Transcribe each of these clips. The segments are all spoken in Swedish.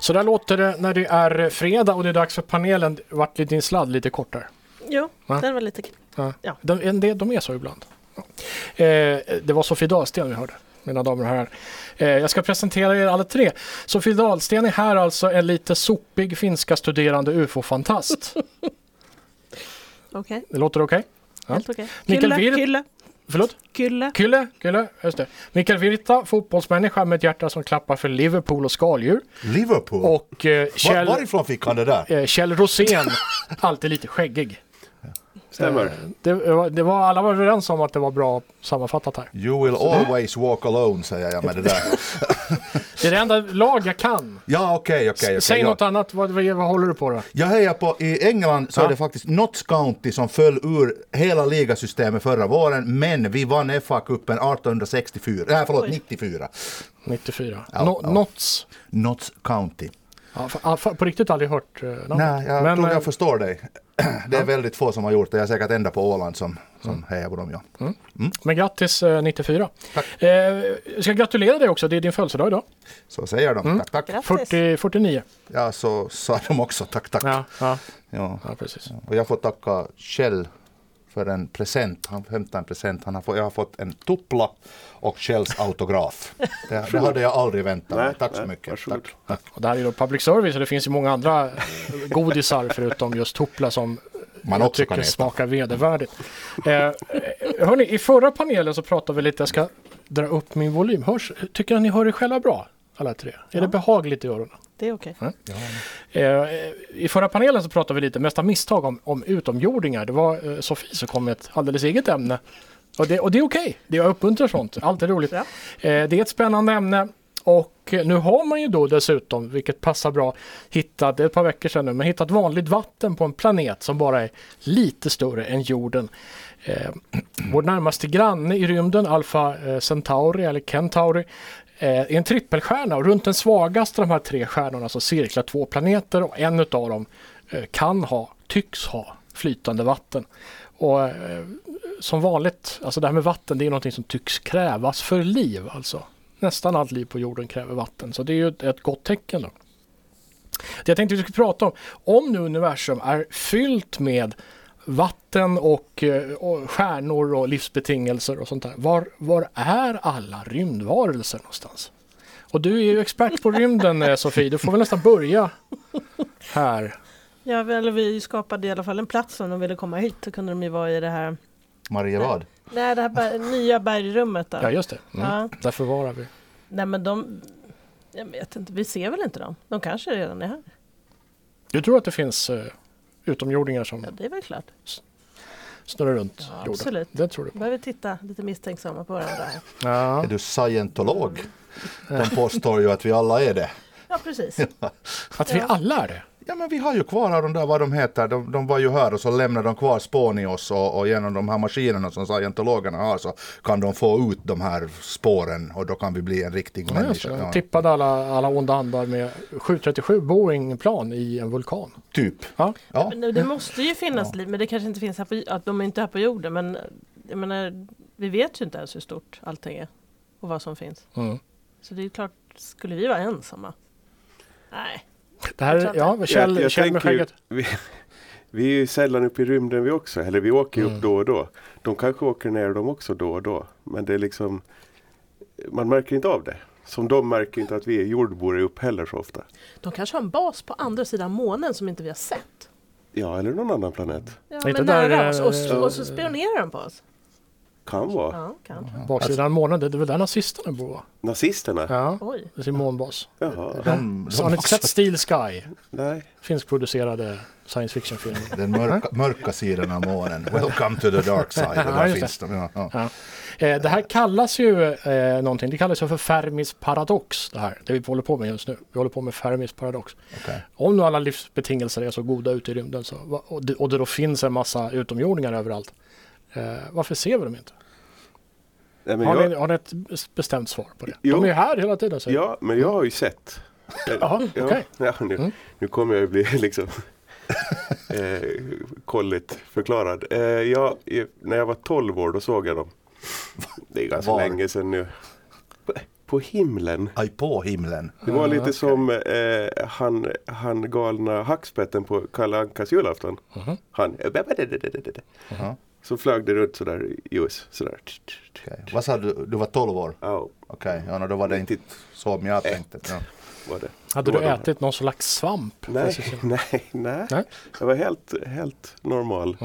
Så där låter det när det är fredag och det är dags för panelen. Vart din sladd lite kortare? Jo, Va? den var lite... Ja. Ja. De, en del, de är så ibland. Ja. Eh, det var Sofie Dahlsten vi hörde, mina damer och herrar. Eh, jag ska presentera er alla tre. Sofie Dahlsten är här alltså en lite sopig finska studerande ufo-fantast. Okej, Det låter okej? helt okej. Mikael Kylle, Wirth- kylle, Förlåt? kylle. Kylle, Kylle, just det. Mikael Virta, fotbollsmänniska med ett hjärta som klappar för Liverpool och skaldjur. Liverpool? Och eh, Var, Kjell, varifrån fick han det där? eh, Kjell Rosén, alltid lite skäggig. Eh, Stämmer. Det, var- det var, alla var överens om att det var bra sammanfattat här. You will always walk alone, säger jag med det där. Det är det enda lag jag kan. Ja, okej, okej. Säg okej. ja. något annat, vad, vad, vad håller du på då? Jag hejar på, i England så Ja. är det faktiskt Notts County som föll ur hela ligasystemet förra våren, men vi vann FA-cupen 1864, nej förlåt Oj. 94. 94. Ja, no, ja. Notts. Notts County. Ja, fa- ja, fa- på riktigt aldrig hört eh, namnet. Nej, jag Men, tror eh, jag förstår dig. Det är väldigt få som har gjort det, jag är säkert enda på Åland som, som Mm. hejar på dem. Ja. men grattis eh, 94. Eh, jag ska gratulera dig också, det är din födelsedag idag. Så säger de, Mm. tack tack. Grattis. 40, 49. Ja, så sa de också, tack tack. Ja, ja, Ja. ja, precis. Och jag får tacka Kjell för en present. Han hämtade en present. Han har fått, jag har fått en tuppla och Kjells autograf. Det, det hade jag aldrig väntat mig. Nej, Tack så nej, mycket. varsågod. Tack. Och det här är då public service och det finns ju många andra godisar förutom just Tupla som Man jag också kan tycker äta. smakar vedervärdigt. Eh, eh, hörni, i förra panelen så pratade vi lite, jag ska dra upp min volym. Hörs, tycker ni ni hör er själva bra? Alla tre? Är det behagligt i öronen? Det är okej. Eh, I förra panelen så pratade vi lite mesta misstag om, om utomjordingar. Det var eh, Sofie som kom med ett alldeles eget ämne. Och det, och det är okej, det jag uppmuntrar sånt. Allt är roligt. Ja. Eh, det är ett spännande ämne. Och eh, nu har man ju då dessutom, vilket passar bra, hittat, det är ett par veckor sedan nu, men hittat vanligt vatten på en planet som bara är lite större än jorden. Eh, vår närmaste granne i rymden, Alpha eh, Centauri eller Centauri, eh, är en trippelstjärna och runt den svagaste av de här tre stjärnorna så cirklar två planeter och en av dem eh, kan ha, tycks ha, flytande vatten. Och eh, som vanligt, alltså det här med vatten, det är någonting som tycks krävas för liv alltså. Nästan allt liv på jorden kräver vatten, så det är ju ett- ett gott tecken då. Det jag tänkte vi skulle prata om, om nu universum är fyllt med vatten och, eh, och stjärnor och livsbetingelser och sånt där. Var, var är alla rymdvarelser någonstans? Och du är ju expert på rymden eh, Sofie, du får väl nästan börja här. Ja, väl, vi skapade i alla fall en plats om de ville komma hit. Då kunde de ju vara i det här, Marievad. nej, det här ber- nya bergrummet där. Ja just det, mm. Ja. där förvarar vi. Nej men de, jag vet inte, vi ser väl inte dem? De kanske redan är här? Du tror att det finns eh, utomjordingar som Ja, det är väl klart. snurrar runt Ja, jorden? absolut. Det tror du Då på? behöver vi titta lite misstänksamma på varandra här. Ja. Är du scientolog? De påstår ju att vi alla är det. Ja, precis. Att vi alla är det? Ja men vi har ju kvar här de där, vad de heter, de, de var ju här och så lämnade de kvar spån i oss och, och genom de här maskinerna som scientologerna har så kan de få ut de här spåren och då kan vi bli en riktig Ja, just människa. det. Ja, De tippade alla, alla onda andar med 737 Boeing-plan i en vulkan. typ. Ja. Ja. Men det måste ju finnas liv, men det kanske inte finns här på, att de är inte här på jorden. Men jag menar, vi vet ju inte ens hur stort allting är och vad som finns. Mm. Så det är ju klart, skulle vi vara ensamma? Nej. Det här, ja, Kjell, Jag- jag Kjell med tänker ju- skägget. Vi, vi är ju sällan uppe i rymden vi också, eller vi åker ju upp då och då. De kanske åker ner de också då och då, men det är liksom, man märker inte av det. Som de märker inte att vi är jordbor är upp heller så ofta. De kanske har en bas på andra sidan månen som inte vi har sett. Ja, eller någon annan planet. Ja, Inte men där, nära oss. Och, eh, så- och så spionerar de på oss. Kan vara. Ja, kanske. Baksidan av månen, det är väl där nazisterna bor va? Nazisterna? Ja. Oj. Det är sin månbas. Jaha. Så har ni inte sett Steel Sky? Nej. Finskproducerade science fiction-filmer. Den mörka, mörka sidan av månen. Welcome to the dark side. Och Ja, där just finns de. Ja, ja. Ja. Eh, det här kallas ju eh, någonting, det kallas ju för Fermis paradox det här, det vi håller på med just nu. Vi håller på med Fermis paradox. Okej. Om nu alla livsbetingelser är så goda ute i rymden så, va- och, det, och det då finns en massa utomjordingar överallt, eh, varför ser vi dem inte? Nej, men Har, jag, ni, har ni ett bestämt svar på det? Jo. De är ju här hela tiden säger ja, men jag har ju sett. Jaha, ja, Typ. okej. ja, nu, nu kommer jag ju bli liksom eh, kolligt förklarad. Eh, jag, eh, när jag var 12 år då såg jag dem. Det är ganska Var? länge sedan nu. på himlen. Aj på himlen. Det var Ah, lite okej. som eh, han, han galna hackspetten på Kalle Ankas julafton. Mhm. Han eh, Jaha, så flög det runt sådär i US. Sådär. okej. Vad sa du, du var 12 år? Ja, Okej, ja, no, då var det inte som jag tänkte. Ja. var det. Hade Då du var de- ätit någon slags svamp? Nej, Precis. nej, nej. Nej. Jag var helt, helt normal.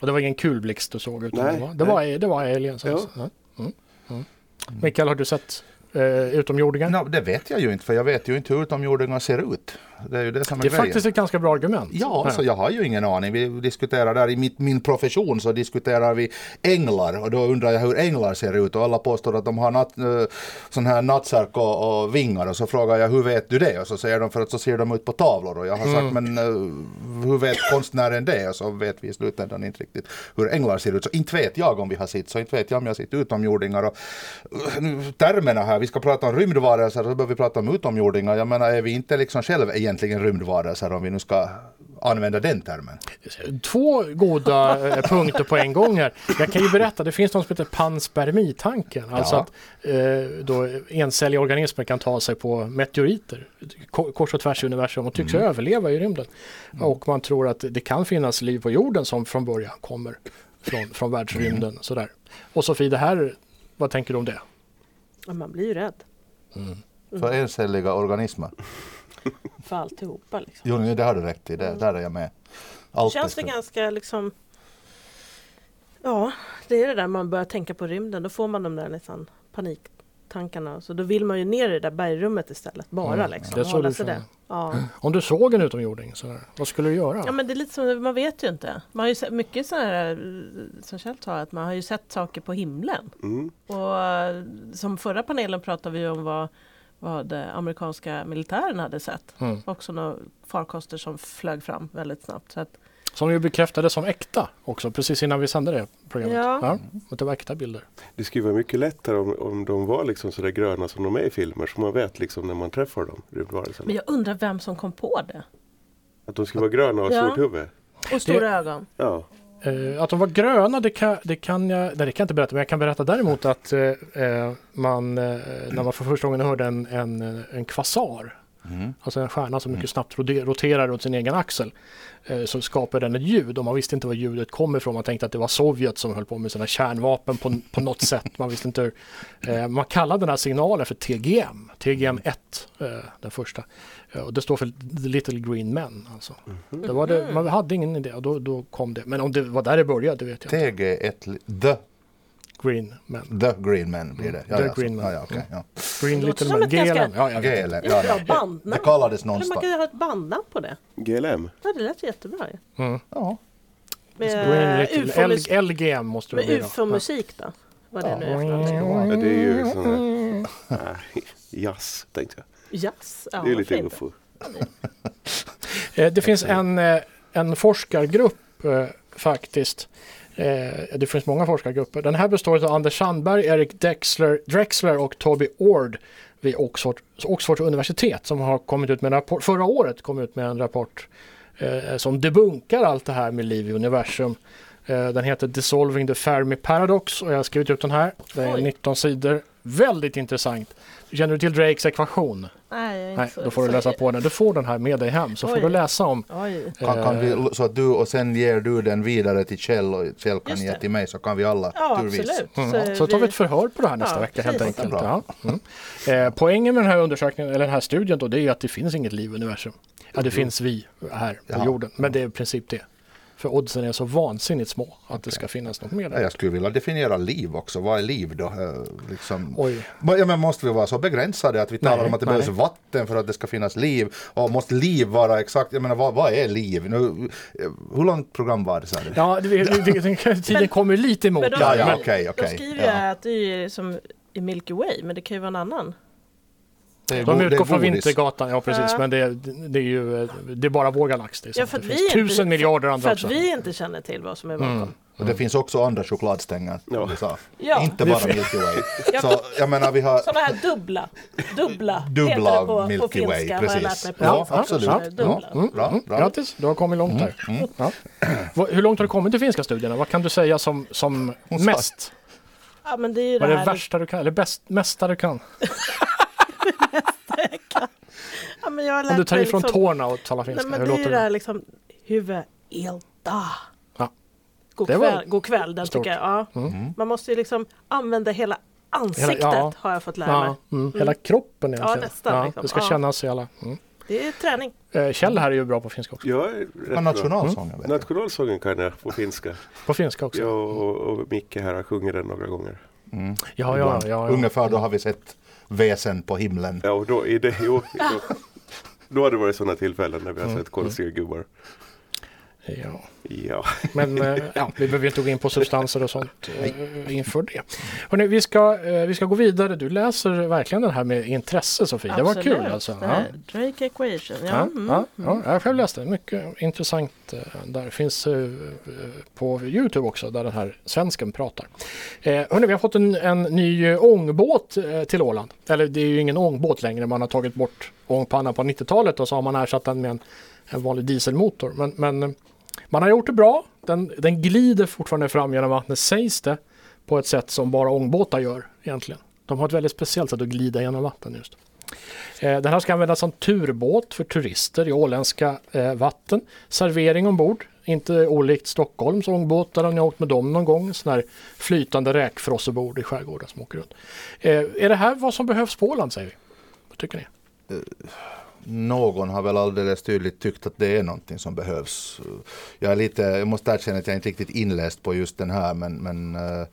Och det var ingen kulblixt du såg? Utan Nej, det, var, det, var, det var aliens? Ja. Alltså. Nej. Mm. Mm. Mikael, har du sett eh, utomjordingar? Nå, det vet jag ju inte, för jag vet ju inte hur utomjordingar ser ut. Det är ju det som är, Det är grejen. faktiskt ett ganska bra argument. Ja, alltså jag har ju ingen aning. Vi diskuterar där i mitt, min profession så diskuterar vi änglar och då undrar jag hur änglar ser ut och alla påstår att de har nat, eh, sån här nattsärk och, och vingar och så frågar jag hur vet du det och så säger de för att så ser de ut på tavlor och jag har sagt men eh, hur vet konstnären det och så vet vi i slutändan inte riktigt hur änglar ser ut. Så inte vet jag om vi har sett så inte vet jag om jag har sett utomjordingar och eh, nu, termerna här, vi ska prata om rymdvarelser och så behöver vi prata om utomjordingar. Jag menar är vi inte liksom själv egentligen rymdvarelser om vi nu ska använda den termen? Två goda eh, punkter på en gång här. Jag kan ju berätta, det finns något som heter panspermitanken. Alltså Ja. att eh, då encelliga organismer kan ta sig på meteoriter ko- kors och tvärs i universum och tycks Mm. överleva i rymden. Och man tror att det kan finnas liv på jorden som från början kommer från, från världsrymden. Mm. Sådär. Och Sofie, det här, vad tänker du om det? Ja, Man blir ju rädd För encelliga organismer. för alltihopa. Liksom. Jo, det har du rätt i, det, där är jag med. Allt Känns det är- ganska liksom... Ja, det är det där man börjar tänka på rymden. Då får man de där nästan paniktankarna. Så då vill man ju ner i det där bergrummet istället. Bara Mm, liksom. det är så hålla du sig känner. där. Ja. Om du såg en utomjording, sådär, vad skulle du göra? Ja men det är lite som, man vet ju inte. Man har ju sett mycket sådana här, eh, som Kjell sa, att man har ju sett saker på himlen. Mm. Och eh, som förra panelen pratade vi ju om vad, vad eh, amerikanska militären hade sett. Mm. Också några farkoster som flög fram väldigt snabbt. Så att, Som ju bekräftades som äkta också, precis innan vi sände det programmet. Ja. att det var äkta bilder. Det skulle vara mycket lättare om, om de var liksom sådär gröna som de är i filmer. Så man vet liksom när man träffar dem, rymdvarelserna. men jag undrar vem som kom på det? Att de skulle vara gröna och ha Ja. stort huvud. Och stora ögon. Ja. Eh, att de var gröna, det kan, det, kan jag, nej, det kan jag inte berätta, men jag kan berätta däremot att eh, eh, man, eh, när man för första gången hörde en, en, eh, en kvasar, Mm. alltså en stjärna som mycket snabbt rode- roterar runt sin egen axel, eh, så skapade den ett ljud och man visste inte var ljudet kom ifrån. Man tänkte att det var Sovjet som höll på med sina kärnvapen på, på något sätt. Man visste inte hur. Eh, man kallade den här signalen för TGM, TGM 1, eh, den första. Eh, och det står för Little Green Men. Alltså. Det var det, Mhm. man hade ingen idé och då, då kom det. Men om det var där det började, det vet jag inte. TG1, the, Green Men. the Green Man blir det. Mm. The ja, så- Green Man. Ja, ja, okej, ja. Green Det låter Little som Man. ett ganska- GLM. Ja, jag vet. GLM, Det ja, är ja. ett bra bandnamn. Det kallades Men man kan någonstans. ju ha ett bandnamn på det. GLM. Ja, det lät jättebra ju. Mm. Ja. Green Med Little L- UFO-mus- LGM måste det med bli då. Ja. Mm. ufo-musik då? Vad det nu är för någonting. Ja, Ja. det är Mm. ju sån här... Nej, Jazz, tänkte jag. Jazz? Mm. Ja, Det är ju lite varför inte? ufo. Eh, Det finns en, eh, en forskargrupp eh, faktiskt. Eh, Det finns många forskargrupper. Den här består av Anders Sandberg, Erik Drexler, Drexler och Toby Ord vid Oxford, Oxfords universitet som har kommit ut med en rapport, förra året kom ut med en rapport eh, som debunkar allt det här med liv i universum. Eh, den heter Dissolving the Fermi Paradox och jag har skrivit ut den här. Det är Oj. 19 sidor. Väldigt intressant. Känner du till Drakes ekvation? Nej, jag är inte Nej, så- då får du så- läsa på den. Du får den här med dig hem så får Oj. du läsa om Oj. Kan, kan Eh, Eh. vi, så att du, och sen ger du den vidare till Kjell och Kjell kan Just ge det. till mig så kan vi alla Ja, turvis. absolut. Mm. Så tar vi ett förhör på det här nästa Ja, vecka helt precis. enkelt. Bra. Ja. Mm. Eh, poängen med den här undersökningen, eller den här studien då, det är ju att det finns inget liv i universum. Ja, det finns vi här på Ja. jorden, men det är i princip det. För oddsen är så vansinnigt små att det ska finnas något mer Ja, där. Jag skulle vilja definiera liv också. Vad är liv då? Eh, Liksom. Oj, Men- Ja, men måste vi vara så begränsade att vi talar Nej, om att det nej. behövs vatten för att det ska finnas liv? Och måste liv vara exakt? Jag menar, vad, vad är liv? Nu, eh, hur långt program var det? Sa du? ja, det, det, det, det, tiden Men- kommer lite emot. men då- där, ja, men- ja, okej, De okej. skriver ju Ja. att det är som i Milky Way, men det kan ju vara en annan. Det är go- De det är utgår från godis. Vintergatan, ja precis, Ja. men det, det är ju eh, det är bara vår galax. Det, är Ja, sant. för det att vi finns inte- tusen miljarder andra För att också. vi inte känner till vad som är bakom. Och det finns också andra chokladstänger. som Ja. du sa. Ja. Inte bara Milky Way. Så jag menar, vi har Sådana här dubbla. Dubbla, heter dubbla det på, Milky på finska. Way. har jag lärt Precis. mig på Ja, finska. absolut. Sådana här Ja, mm. Dubbla. bra, bra. Grattis, du har kommit långt där. Ja. Vad- Hur långt har du kommit i finska studierna? Vad kan du säga som, som sa- mest? Ja, men det är ju Vad det är det här värsta du kan? Eller bäst, mästa du kan? Ja, men jag har Om lärt du tar mig ifrån liksom... tårna och talar Nej, finska, men hur det är ju låter det det? här liksom huvudelta. Ja. God, Det var kväll, god kväll, den stort. tycker jag. Ja. Mm. Man måste ju liksom använda hela ansiktet ja. har jag fått lära mig. Ja, mm. Hela kroppen egentligen. nästan, liksom. Det ska Ja. kännas i alla... Mm. Det är träning. Eh, Kjell här är ju bra på finska också. Jag är Det var rätt bra. nationalsången. Mm. Vet du. Nationalsången kan jag på finska. På finska också. Jag och, och Micke här har sjungit den några gånger. Mm. Ja, ja, ja. ja. Ungefär då har vi sett väsen på himlen. Ja, och då, i det, jo, då, då har det varit sådana tillfällen när vi Mm. har sett konstiga gubbar. ja. Ja, Men eh, ja, vi behöver ju inte gå in på substanser och sånt eh, inför det. Hörrni, vi, ska, eh, vi ska gå vidare. Du läser verkligen den här med intresse Sofie. Det var kul alltså. Det Ja. här Eh, Drake Equation. Ja. Ja, mm. ja, ja, jag själv läste den. Mycket intressant eh, där. Finns eh, på Youtube också där den här svensken pratar. Eh, hörni, vi har fått en, en ny eh, ångbåt eh, till Åland. Eller det är ju ingen ångbåt längre. Man har tagit bort ångpannan på 90-talet och så har man ersatt den med en, en vanlig dieselmotor. Men, men eh, man har gjort det bra. Den, den glider fortfarande fram genom vattnet sägs det. På ett sätt som bara ångbåtar gör egentligen. De har ett väldigt speciellt sätt att glida genom vatten just. Eh, Den här ska användas som turbåt för turister i åländska eh, vatten. Servering ombord, inte olikt Stockholms ångbåtar om ni har åkt med dem någon gång. Sån här flytande räkfrossebord i skärgården som åker runt. Eh, Är det här vad som behövs på Åland säger vi? Vad tycker ni? Någon har väl alldeles tydligt tyckt att det är någonting som behövs. Jag, är lite, jag måste erkänna att jag inte riktigt inläst på just den här men, men eh,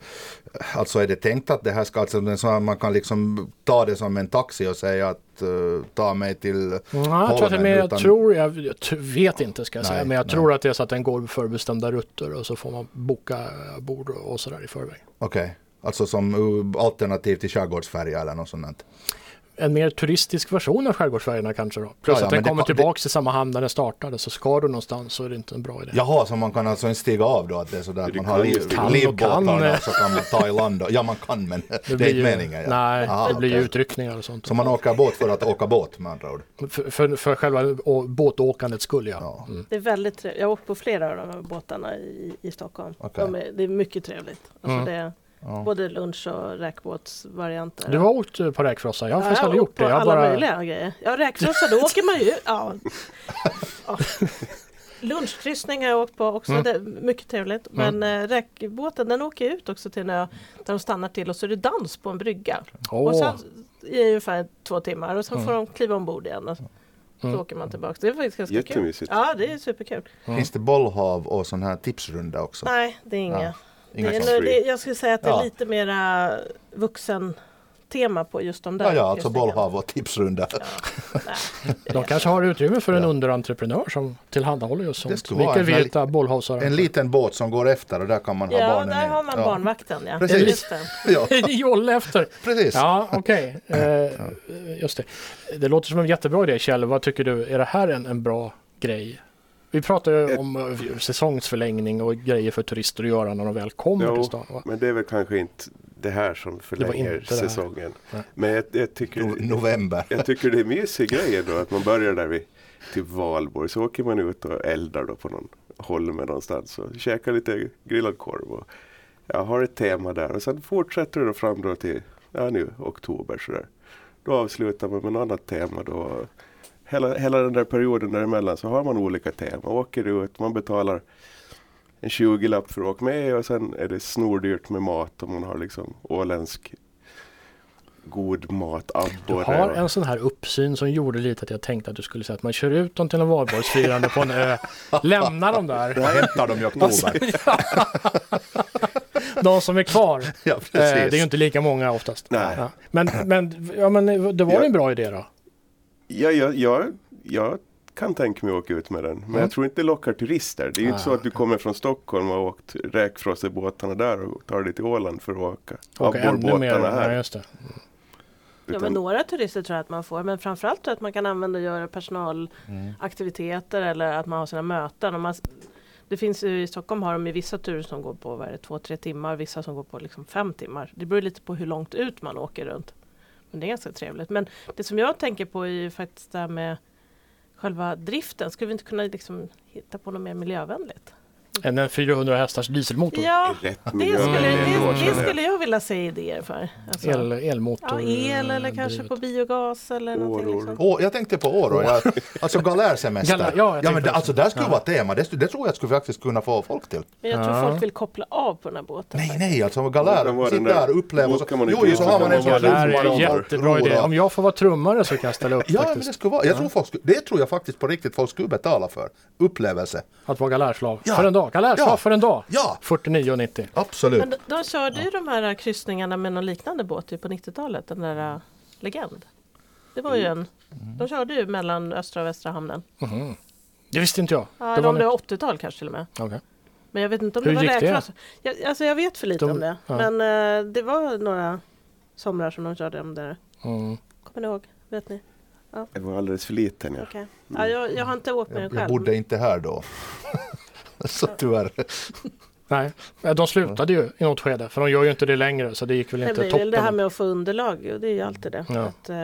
alltså är det tänkt att det här ska, alltså, en sån här- man kan liksom ta det som en taxi och säga att eh, ta mig till Nej, jag tror, att det är Holmen med, jag, utan- tror jag, jag t- vet inte ska jag säga, Nej, men jag nej. tror att det är så att den går förbestämda rutter och så får man boka eh, bord och och sådär i förväg. Okej, alltså som uh, alternativ till skärgårdsfärja eller något sånt. där. en mer turistisk version av Skärgårdsfärjorna kanske då. Plus Ja, ja, att den men det kommer ko- det- tillbaka till samma hamn där den startade. Så ska du någonstans så är det inte en bra idé. Jaha, så man kan alltså inte stiga av då? Att det är sådär att Du man kan har ju liv, stiga av. Kan och kan. livbåtarna och så kan man ta i land. och- Ja, man kan men det, är ju, inte meningen. Ja. Nej, Aha, det blir ju okej. utryckningar och sånt. Så man åker båt för att åka båt med andra ord? För, för, för själva å- båtåkandet skulle jag. Ja. Det är väldigt trevligt. Jag har åkt på flera av de här båtarna i, i Stockholm. Okej. De är, det är mycket trevligt. Alltså Mm. det är Ja. både lunch och räkbåtsvarianter. Du har åkt eh, på räkfrossa, jag har Ja, faktiskt jag aldrig har åkt gjort på det. Jag alla bara, möjliga grejer. Ja, räkfrossa, då åker man ju... Ja. Ja. Lunchkryssning har jag åkt på också, Mm. det är mycket trevligt. Men eh, räkbåten den åker ut också till en ö där de stannar till och så är det dans på en brygga. Och Åh. sen i ungefär två timmar och sen Mm. får de kliva ombord igen. Och så åker man tillbaka. Det är faktiskt ganska kul. Jättemysigt. Ja, det är superkul. Finns det bollhav och sån här tipsrunda också? Nej, det är inga. Ja, Det inga är, sånt. nog- det, jag skulle säga att det är Ja. lite mera vuxen tema på just de där. Ja, ja, alltså kryssningarna. bollhav och tipsrunda. de kanske har utrymme för en underentreprenör som tillhandahåller just sånt. skulle vara Mikael en- Virta, bollhavsare. En liten båt som går efter och där kan man ha Ja, barnen där i. har man ja. barnvakten. Ja. Precis. Just det. Ja, Jolle efter. precis. Ja, okej. Eh, just det. Det låter som en jättebra idé, Kjell. Vad tycker du? Är det här en, en bra grej? Vi pratar ju om eh, säsongsförlängning och grejer för turister att göra när de väl kommer till stan. jo, va? men det är väl kanske inte det här som förlänger inte det här. säsongen. Nej. Men jag, jag, tycker, No- November. jag tycker det är mysig grej då att man börjar där vid typ Valborg. Så åker man ut och eldar då på någon holme någonstans och käkar lite grillad korv. Och, ja, har ett tema där och sen fortsätter det då fram då till ja, nu, oktober. Så där. Då avslutar man med något annat tema. Då. Hela, hela den där perioden däremellan så har man olika teman. Åker ut, man betalar en 20-lapp för att åka med och sen är det snordyrt med mat om man har liksom åländsk god mat, Du abborre. har och- en sån här uppsyn som gjorde lite att jag tänkte att du skulle säga att man kör ut dem till en valborgsfirande på en ö, lämnar dem där. Jag hämtar dem i oktober. De som är kvar. Eh, Ja, Det är ju precis. inte lika många oftast. Nej. Ja. Men, men, ja, men det var ju en bra idé då. Ja, jag, jag, jag kan tänka mig att åka ut med den. Men Mm. jag tror inte det lockar turister. Det är ju inte Ah. så att du kommer från Stockholm och har åkt räkfrossebåtarna där och tar dig till Åland för att åka Och ännu mer. abborrbåtarna Ja, här. just det. Ja, men några turister tror jag att man får, men framförallt tror jag att man kan använda och göra personalaktiviteter eller att man har sina möten. Om man, s- det finns ju, I Stockholm har de ju vissa turer som går på vad är det, två, tre timmar, vissa som går på liksom fem timmar. Det beror lite på hur långt ut man åker runt. Men det är ganska trevligt. Men det som jag tänker på är ju faktiskt det här med själva driften. Skulle vi inte kunna liksom hitta på något mer miljövänligt? än en 400 hästars dieselmotor. Ja, Rätt Ah, det skulle, miljövänlig det, det åtgärd. skulle jag vilja se idéer för. Alltså, El, elmotor. ja, el eller eh, kanske drivet. på biogas eller någonting. Åror. Liksom. Åh, jag tänkte på Åre, jag, alltså galärsemester. Galär- ja, jag ja, tänkte men det, också. alltså där skulle vara tema, det, skulle- det tror jag skulle faktiskt kunna få folk till. Men jag tror Ja. folk vill koppla av på den här båten. Nej, nej, alltså Då kan galär, vara sitt den där- där, upplev och så. då kan man Jo, inte- ju, så har man en då kan sån man Det här är en som man jättebra ror idé. av. Om jag får vara trummare så kan jag ställa upp Ja, men faktiskt. det skulle vara, jag tror folk skulle, det tror jag faktiskt på riktigt folk skulle betala för. Upplevelse. Att vara galärslav. Ja. För en dag. Galärslav Ja. för en dag. Ja. 49,90. Absolut. Men de, de körde ju de här kryssningarna med någon liknande båt ju på 90-talet, den där äh, Legend. Det var ju en, de körde ju mellan östra och västra hamnen. Det visste inte jag. Ja, det eller om det nytt. var 80-tal kanske till och med. Okej. Men jag vet inte om Hur det var gick det? räknas. Jag, alltså jag vet för lite De- om det. ja. Men eh, det var några somrar som de körde om det. där. Mm. Kommer ni ihåg? Vet ni? Jag var alldeles för liten. Ja. Okej. Ja, jag, jag har inte åkt med den Jag, själv. jag bodde inte här då. så tyvärr. Nej, de slutade ju i något skede. För de gör ju inte det längre. Så det gick väl Det inte blir toppen. väl det här med att få underlag och det är ju alltid det. Ja. Att eh,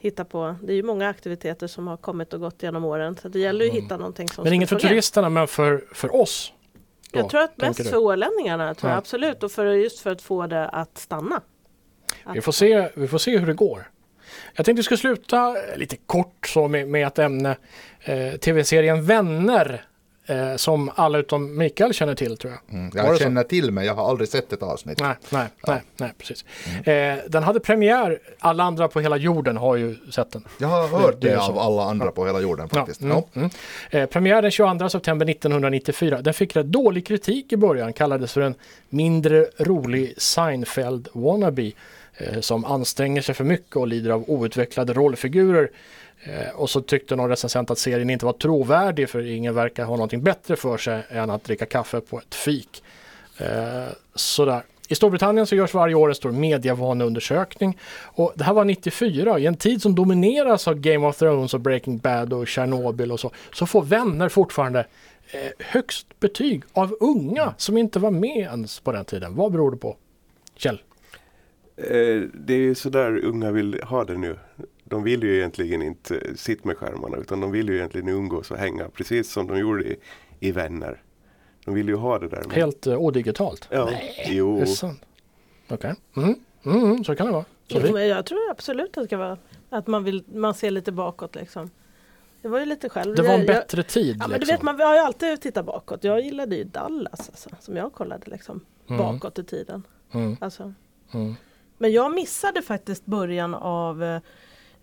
hitta på. Det är ju många aktiviteter som har kommit och gått genom åren. Så det gäller ju att hitta någonting som Mm. Men ska inget för fungera. turisterna men för, för oss. då, Jag tror att tänker mest du? för ålänningarna, tror Ja. jag, absolut. Och för, just för att få det att stanna. Vi får, se, vi får se hur det går. Jag tänkte vi skulle sluta eh, lite kort så med, med ett ämne. Eh, Tv-serien Vänner. Eh, som alla utom Mikael känner till tror jag. Mm, Var det Jag så? känner till men jag har aldrig sett ett avsnitt. Nej, nej, nej, nej precis. Eh, den hade premiär. Alla andra på hela jorden har ju sett den. Jag har hört Det är det så. av alla andra på hela jorden faktiskt. Ja, mm, Ja. mm. Eh, premiär den 22 september 1994. Den fick rätt dålig kritik i början, kallades för en mindre rolig Seinfeld wannabe eh, som anstränger sig för mycket och lider av outvecklade rollfigurer. Eh, och så tyckte någon recensent att serien inte var trovärdig för ingen verkar ha någonting bättre för sig än att dricka kaffe på ett fik. Eh, sådär. I Storbritannien så görs varje år en stor medievaneundersökning. Och det här var 94, i en tid som domineras av Game of Thrones och Breaking Bad och Tjernobyl och så, så får vänner fortfarande eh, högst betyg av unga som inte var med ens på den tiden. Vad beror det på? Kjell? Eh, Det är ju sådär unga vill ha det nu. De vill ju egentligen inte sitta med skärmarna utan de vill ju egentligen umgås och hänga precis som de gjorde i, i Vänner. De vill ju ha det där. men- Helt eh, odigitalt? Ja, Är jo. det sant? Okej, mm. Mm, mm, så kan det vara. Så Jo, vi, men Liksom, jag tror absolut att det ska vara att man, vill, man ser lite bakåt liksom. Det var ju lite själv. det var en jag, jag, bättre tid. Ja, men du liksom. vet, man har ju alltid tittat bakåt. Jag gillade ju Dallas, alltså, som jag kollade liksom, bakåt i tiden. Mm. Alltså. Mm. Men jag missade faktiskt början av eh,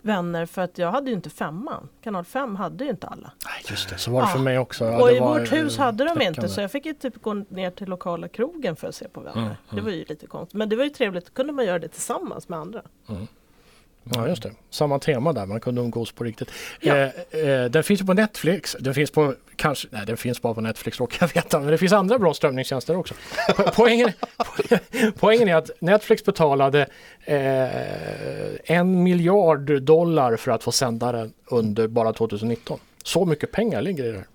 Vänner för att jag hade ju inte femman. Kanal 5 hade ju inte alla. Nej, just det, så var det för Ja. mig också. Ja, Ah. och det i var, vårt eh, hus hade de inte knäckande. så jag fick ju typ gå ner till lokala krogen för att se på Vänner. Det var ju lite konstigt. Men det var ju trevligt, då kunde man göra det tillsammans med andra. Ja, just det. Samma tema där, man kunde umgås på riktigt. Ja. Eh, eh, den finns ju på Netflix, den finns på kanske, nej den finns bara på Netflix råkar jag veta, men det finns andra bra strömningstjänster också. Po- poängen, po- poängen är att Netflix betalade eh, en miljard dollar för att få sända den under bara 2019. Så mycket pengar ligger i det här.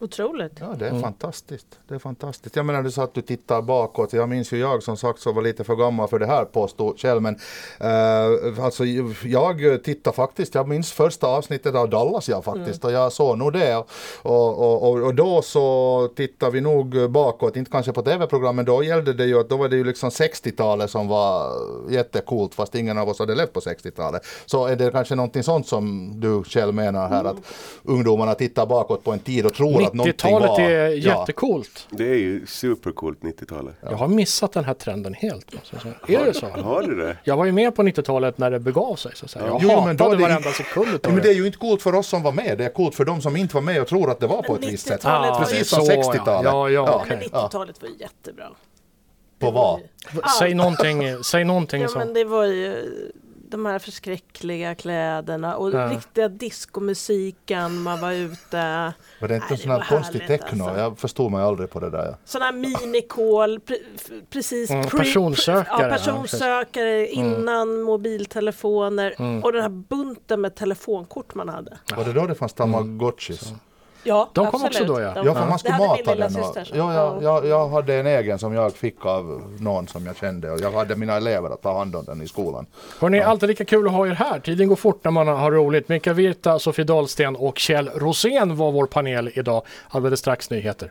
Otroligt. Ja, det är fantastiskt. Det är fantastiskt. Jag menar, du sa att du tittar bakåt. Jag minns ju jag som sagt så var lite för gammal för det här påstod Kjell, men eh, alltså jag tittar faktiskt, jag minns första avsnittet av Dallas jag faktiskt och jag såg nog det. Och, och, och, och då så tittar vi nog bakåt, inte kanske på tv-program, men då gällde det ju att då var det ju liksom 60-talet som var jättecoolt fast ingen av oss hade levt på 60-talet. Så är det kanske någonting sånt som du Kjell menar här att ungdomarna tittar bakåt på en tid och tror att någonting 90-talet var- är ja. jättecoolt. Det är ju supercoolt 90-talet. Jag har missat den här trenden helt. måste jag säga. Är det så? Har du det? Jag var ju med på 90-talet när det begav sig. Så att säga. Jag Jo, men då hatade är det- varenda sekund utav Ja, men det är ju inte coolt för oss som var med, det är coolt för de som inte var med och tror att det var på ett visst sätt. 90-talet var ju- Precis som Ah, så, ja. 60-talet. Ja, ja, Ja. okej. Men 90-talet var ju jättebra. På vad? Säg någonting, säg någonting Ja, som... men det var ju eh, de här förskräckliga kläderna och Ja. riktiga diskomusiken, man var ute. Var det inte Nej, det en sån här var konstig härligt, techno? alltså. Jag förstod mig aldrig på det där. Ja. Sådana här minikol, pre- f- precis Mm, pre- personsökare, ja, ja, personsökare Mm. innan mobiltelefoner och den här bunten med telefonkort man hade. Var det då det fanns tamagotchis? Ja, De kom absolut. också då, ja. Ja, De- Ja, för man skulle det hade mata min lilla den. Och, syster. som- ja, ja, jag, jag hade en egen som jag fick av någon som jag kände och jag hade mina elever att ta hand om den i skolan. Hörrni, alltid lika kul att ha er här. Tiden går fort när man har roligt. Mika Virta, Sofie Dahlsten och Kjell Rosén var vår panel idag. Alldeles strax nyheter.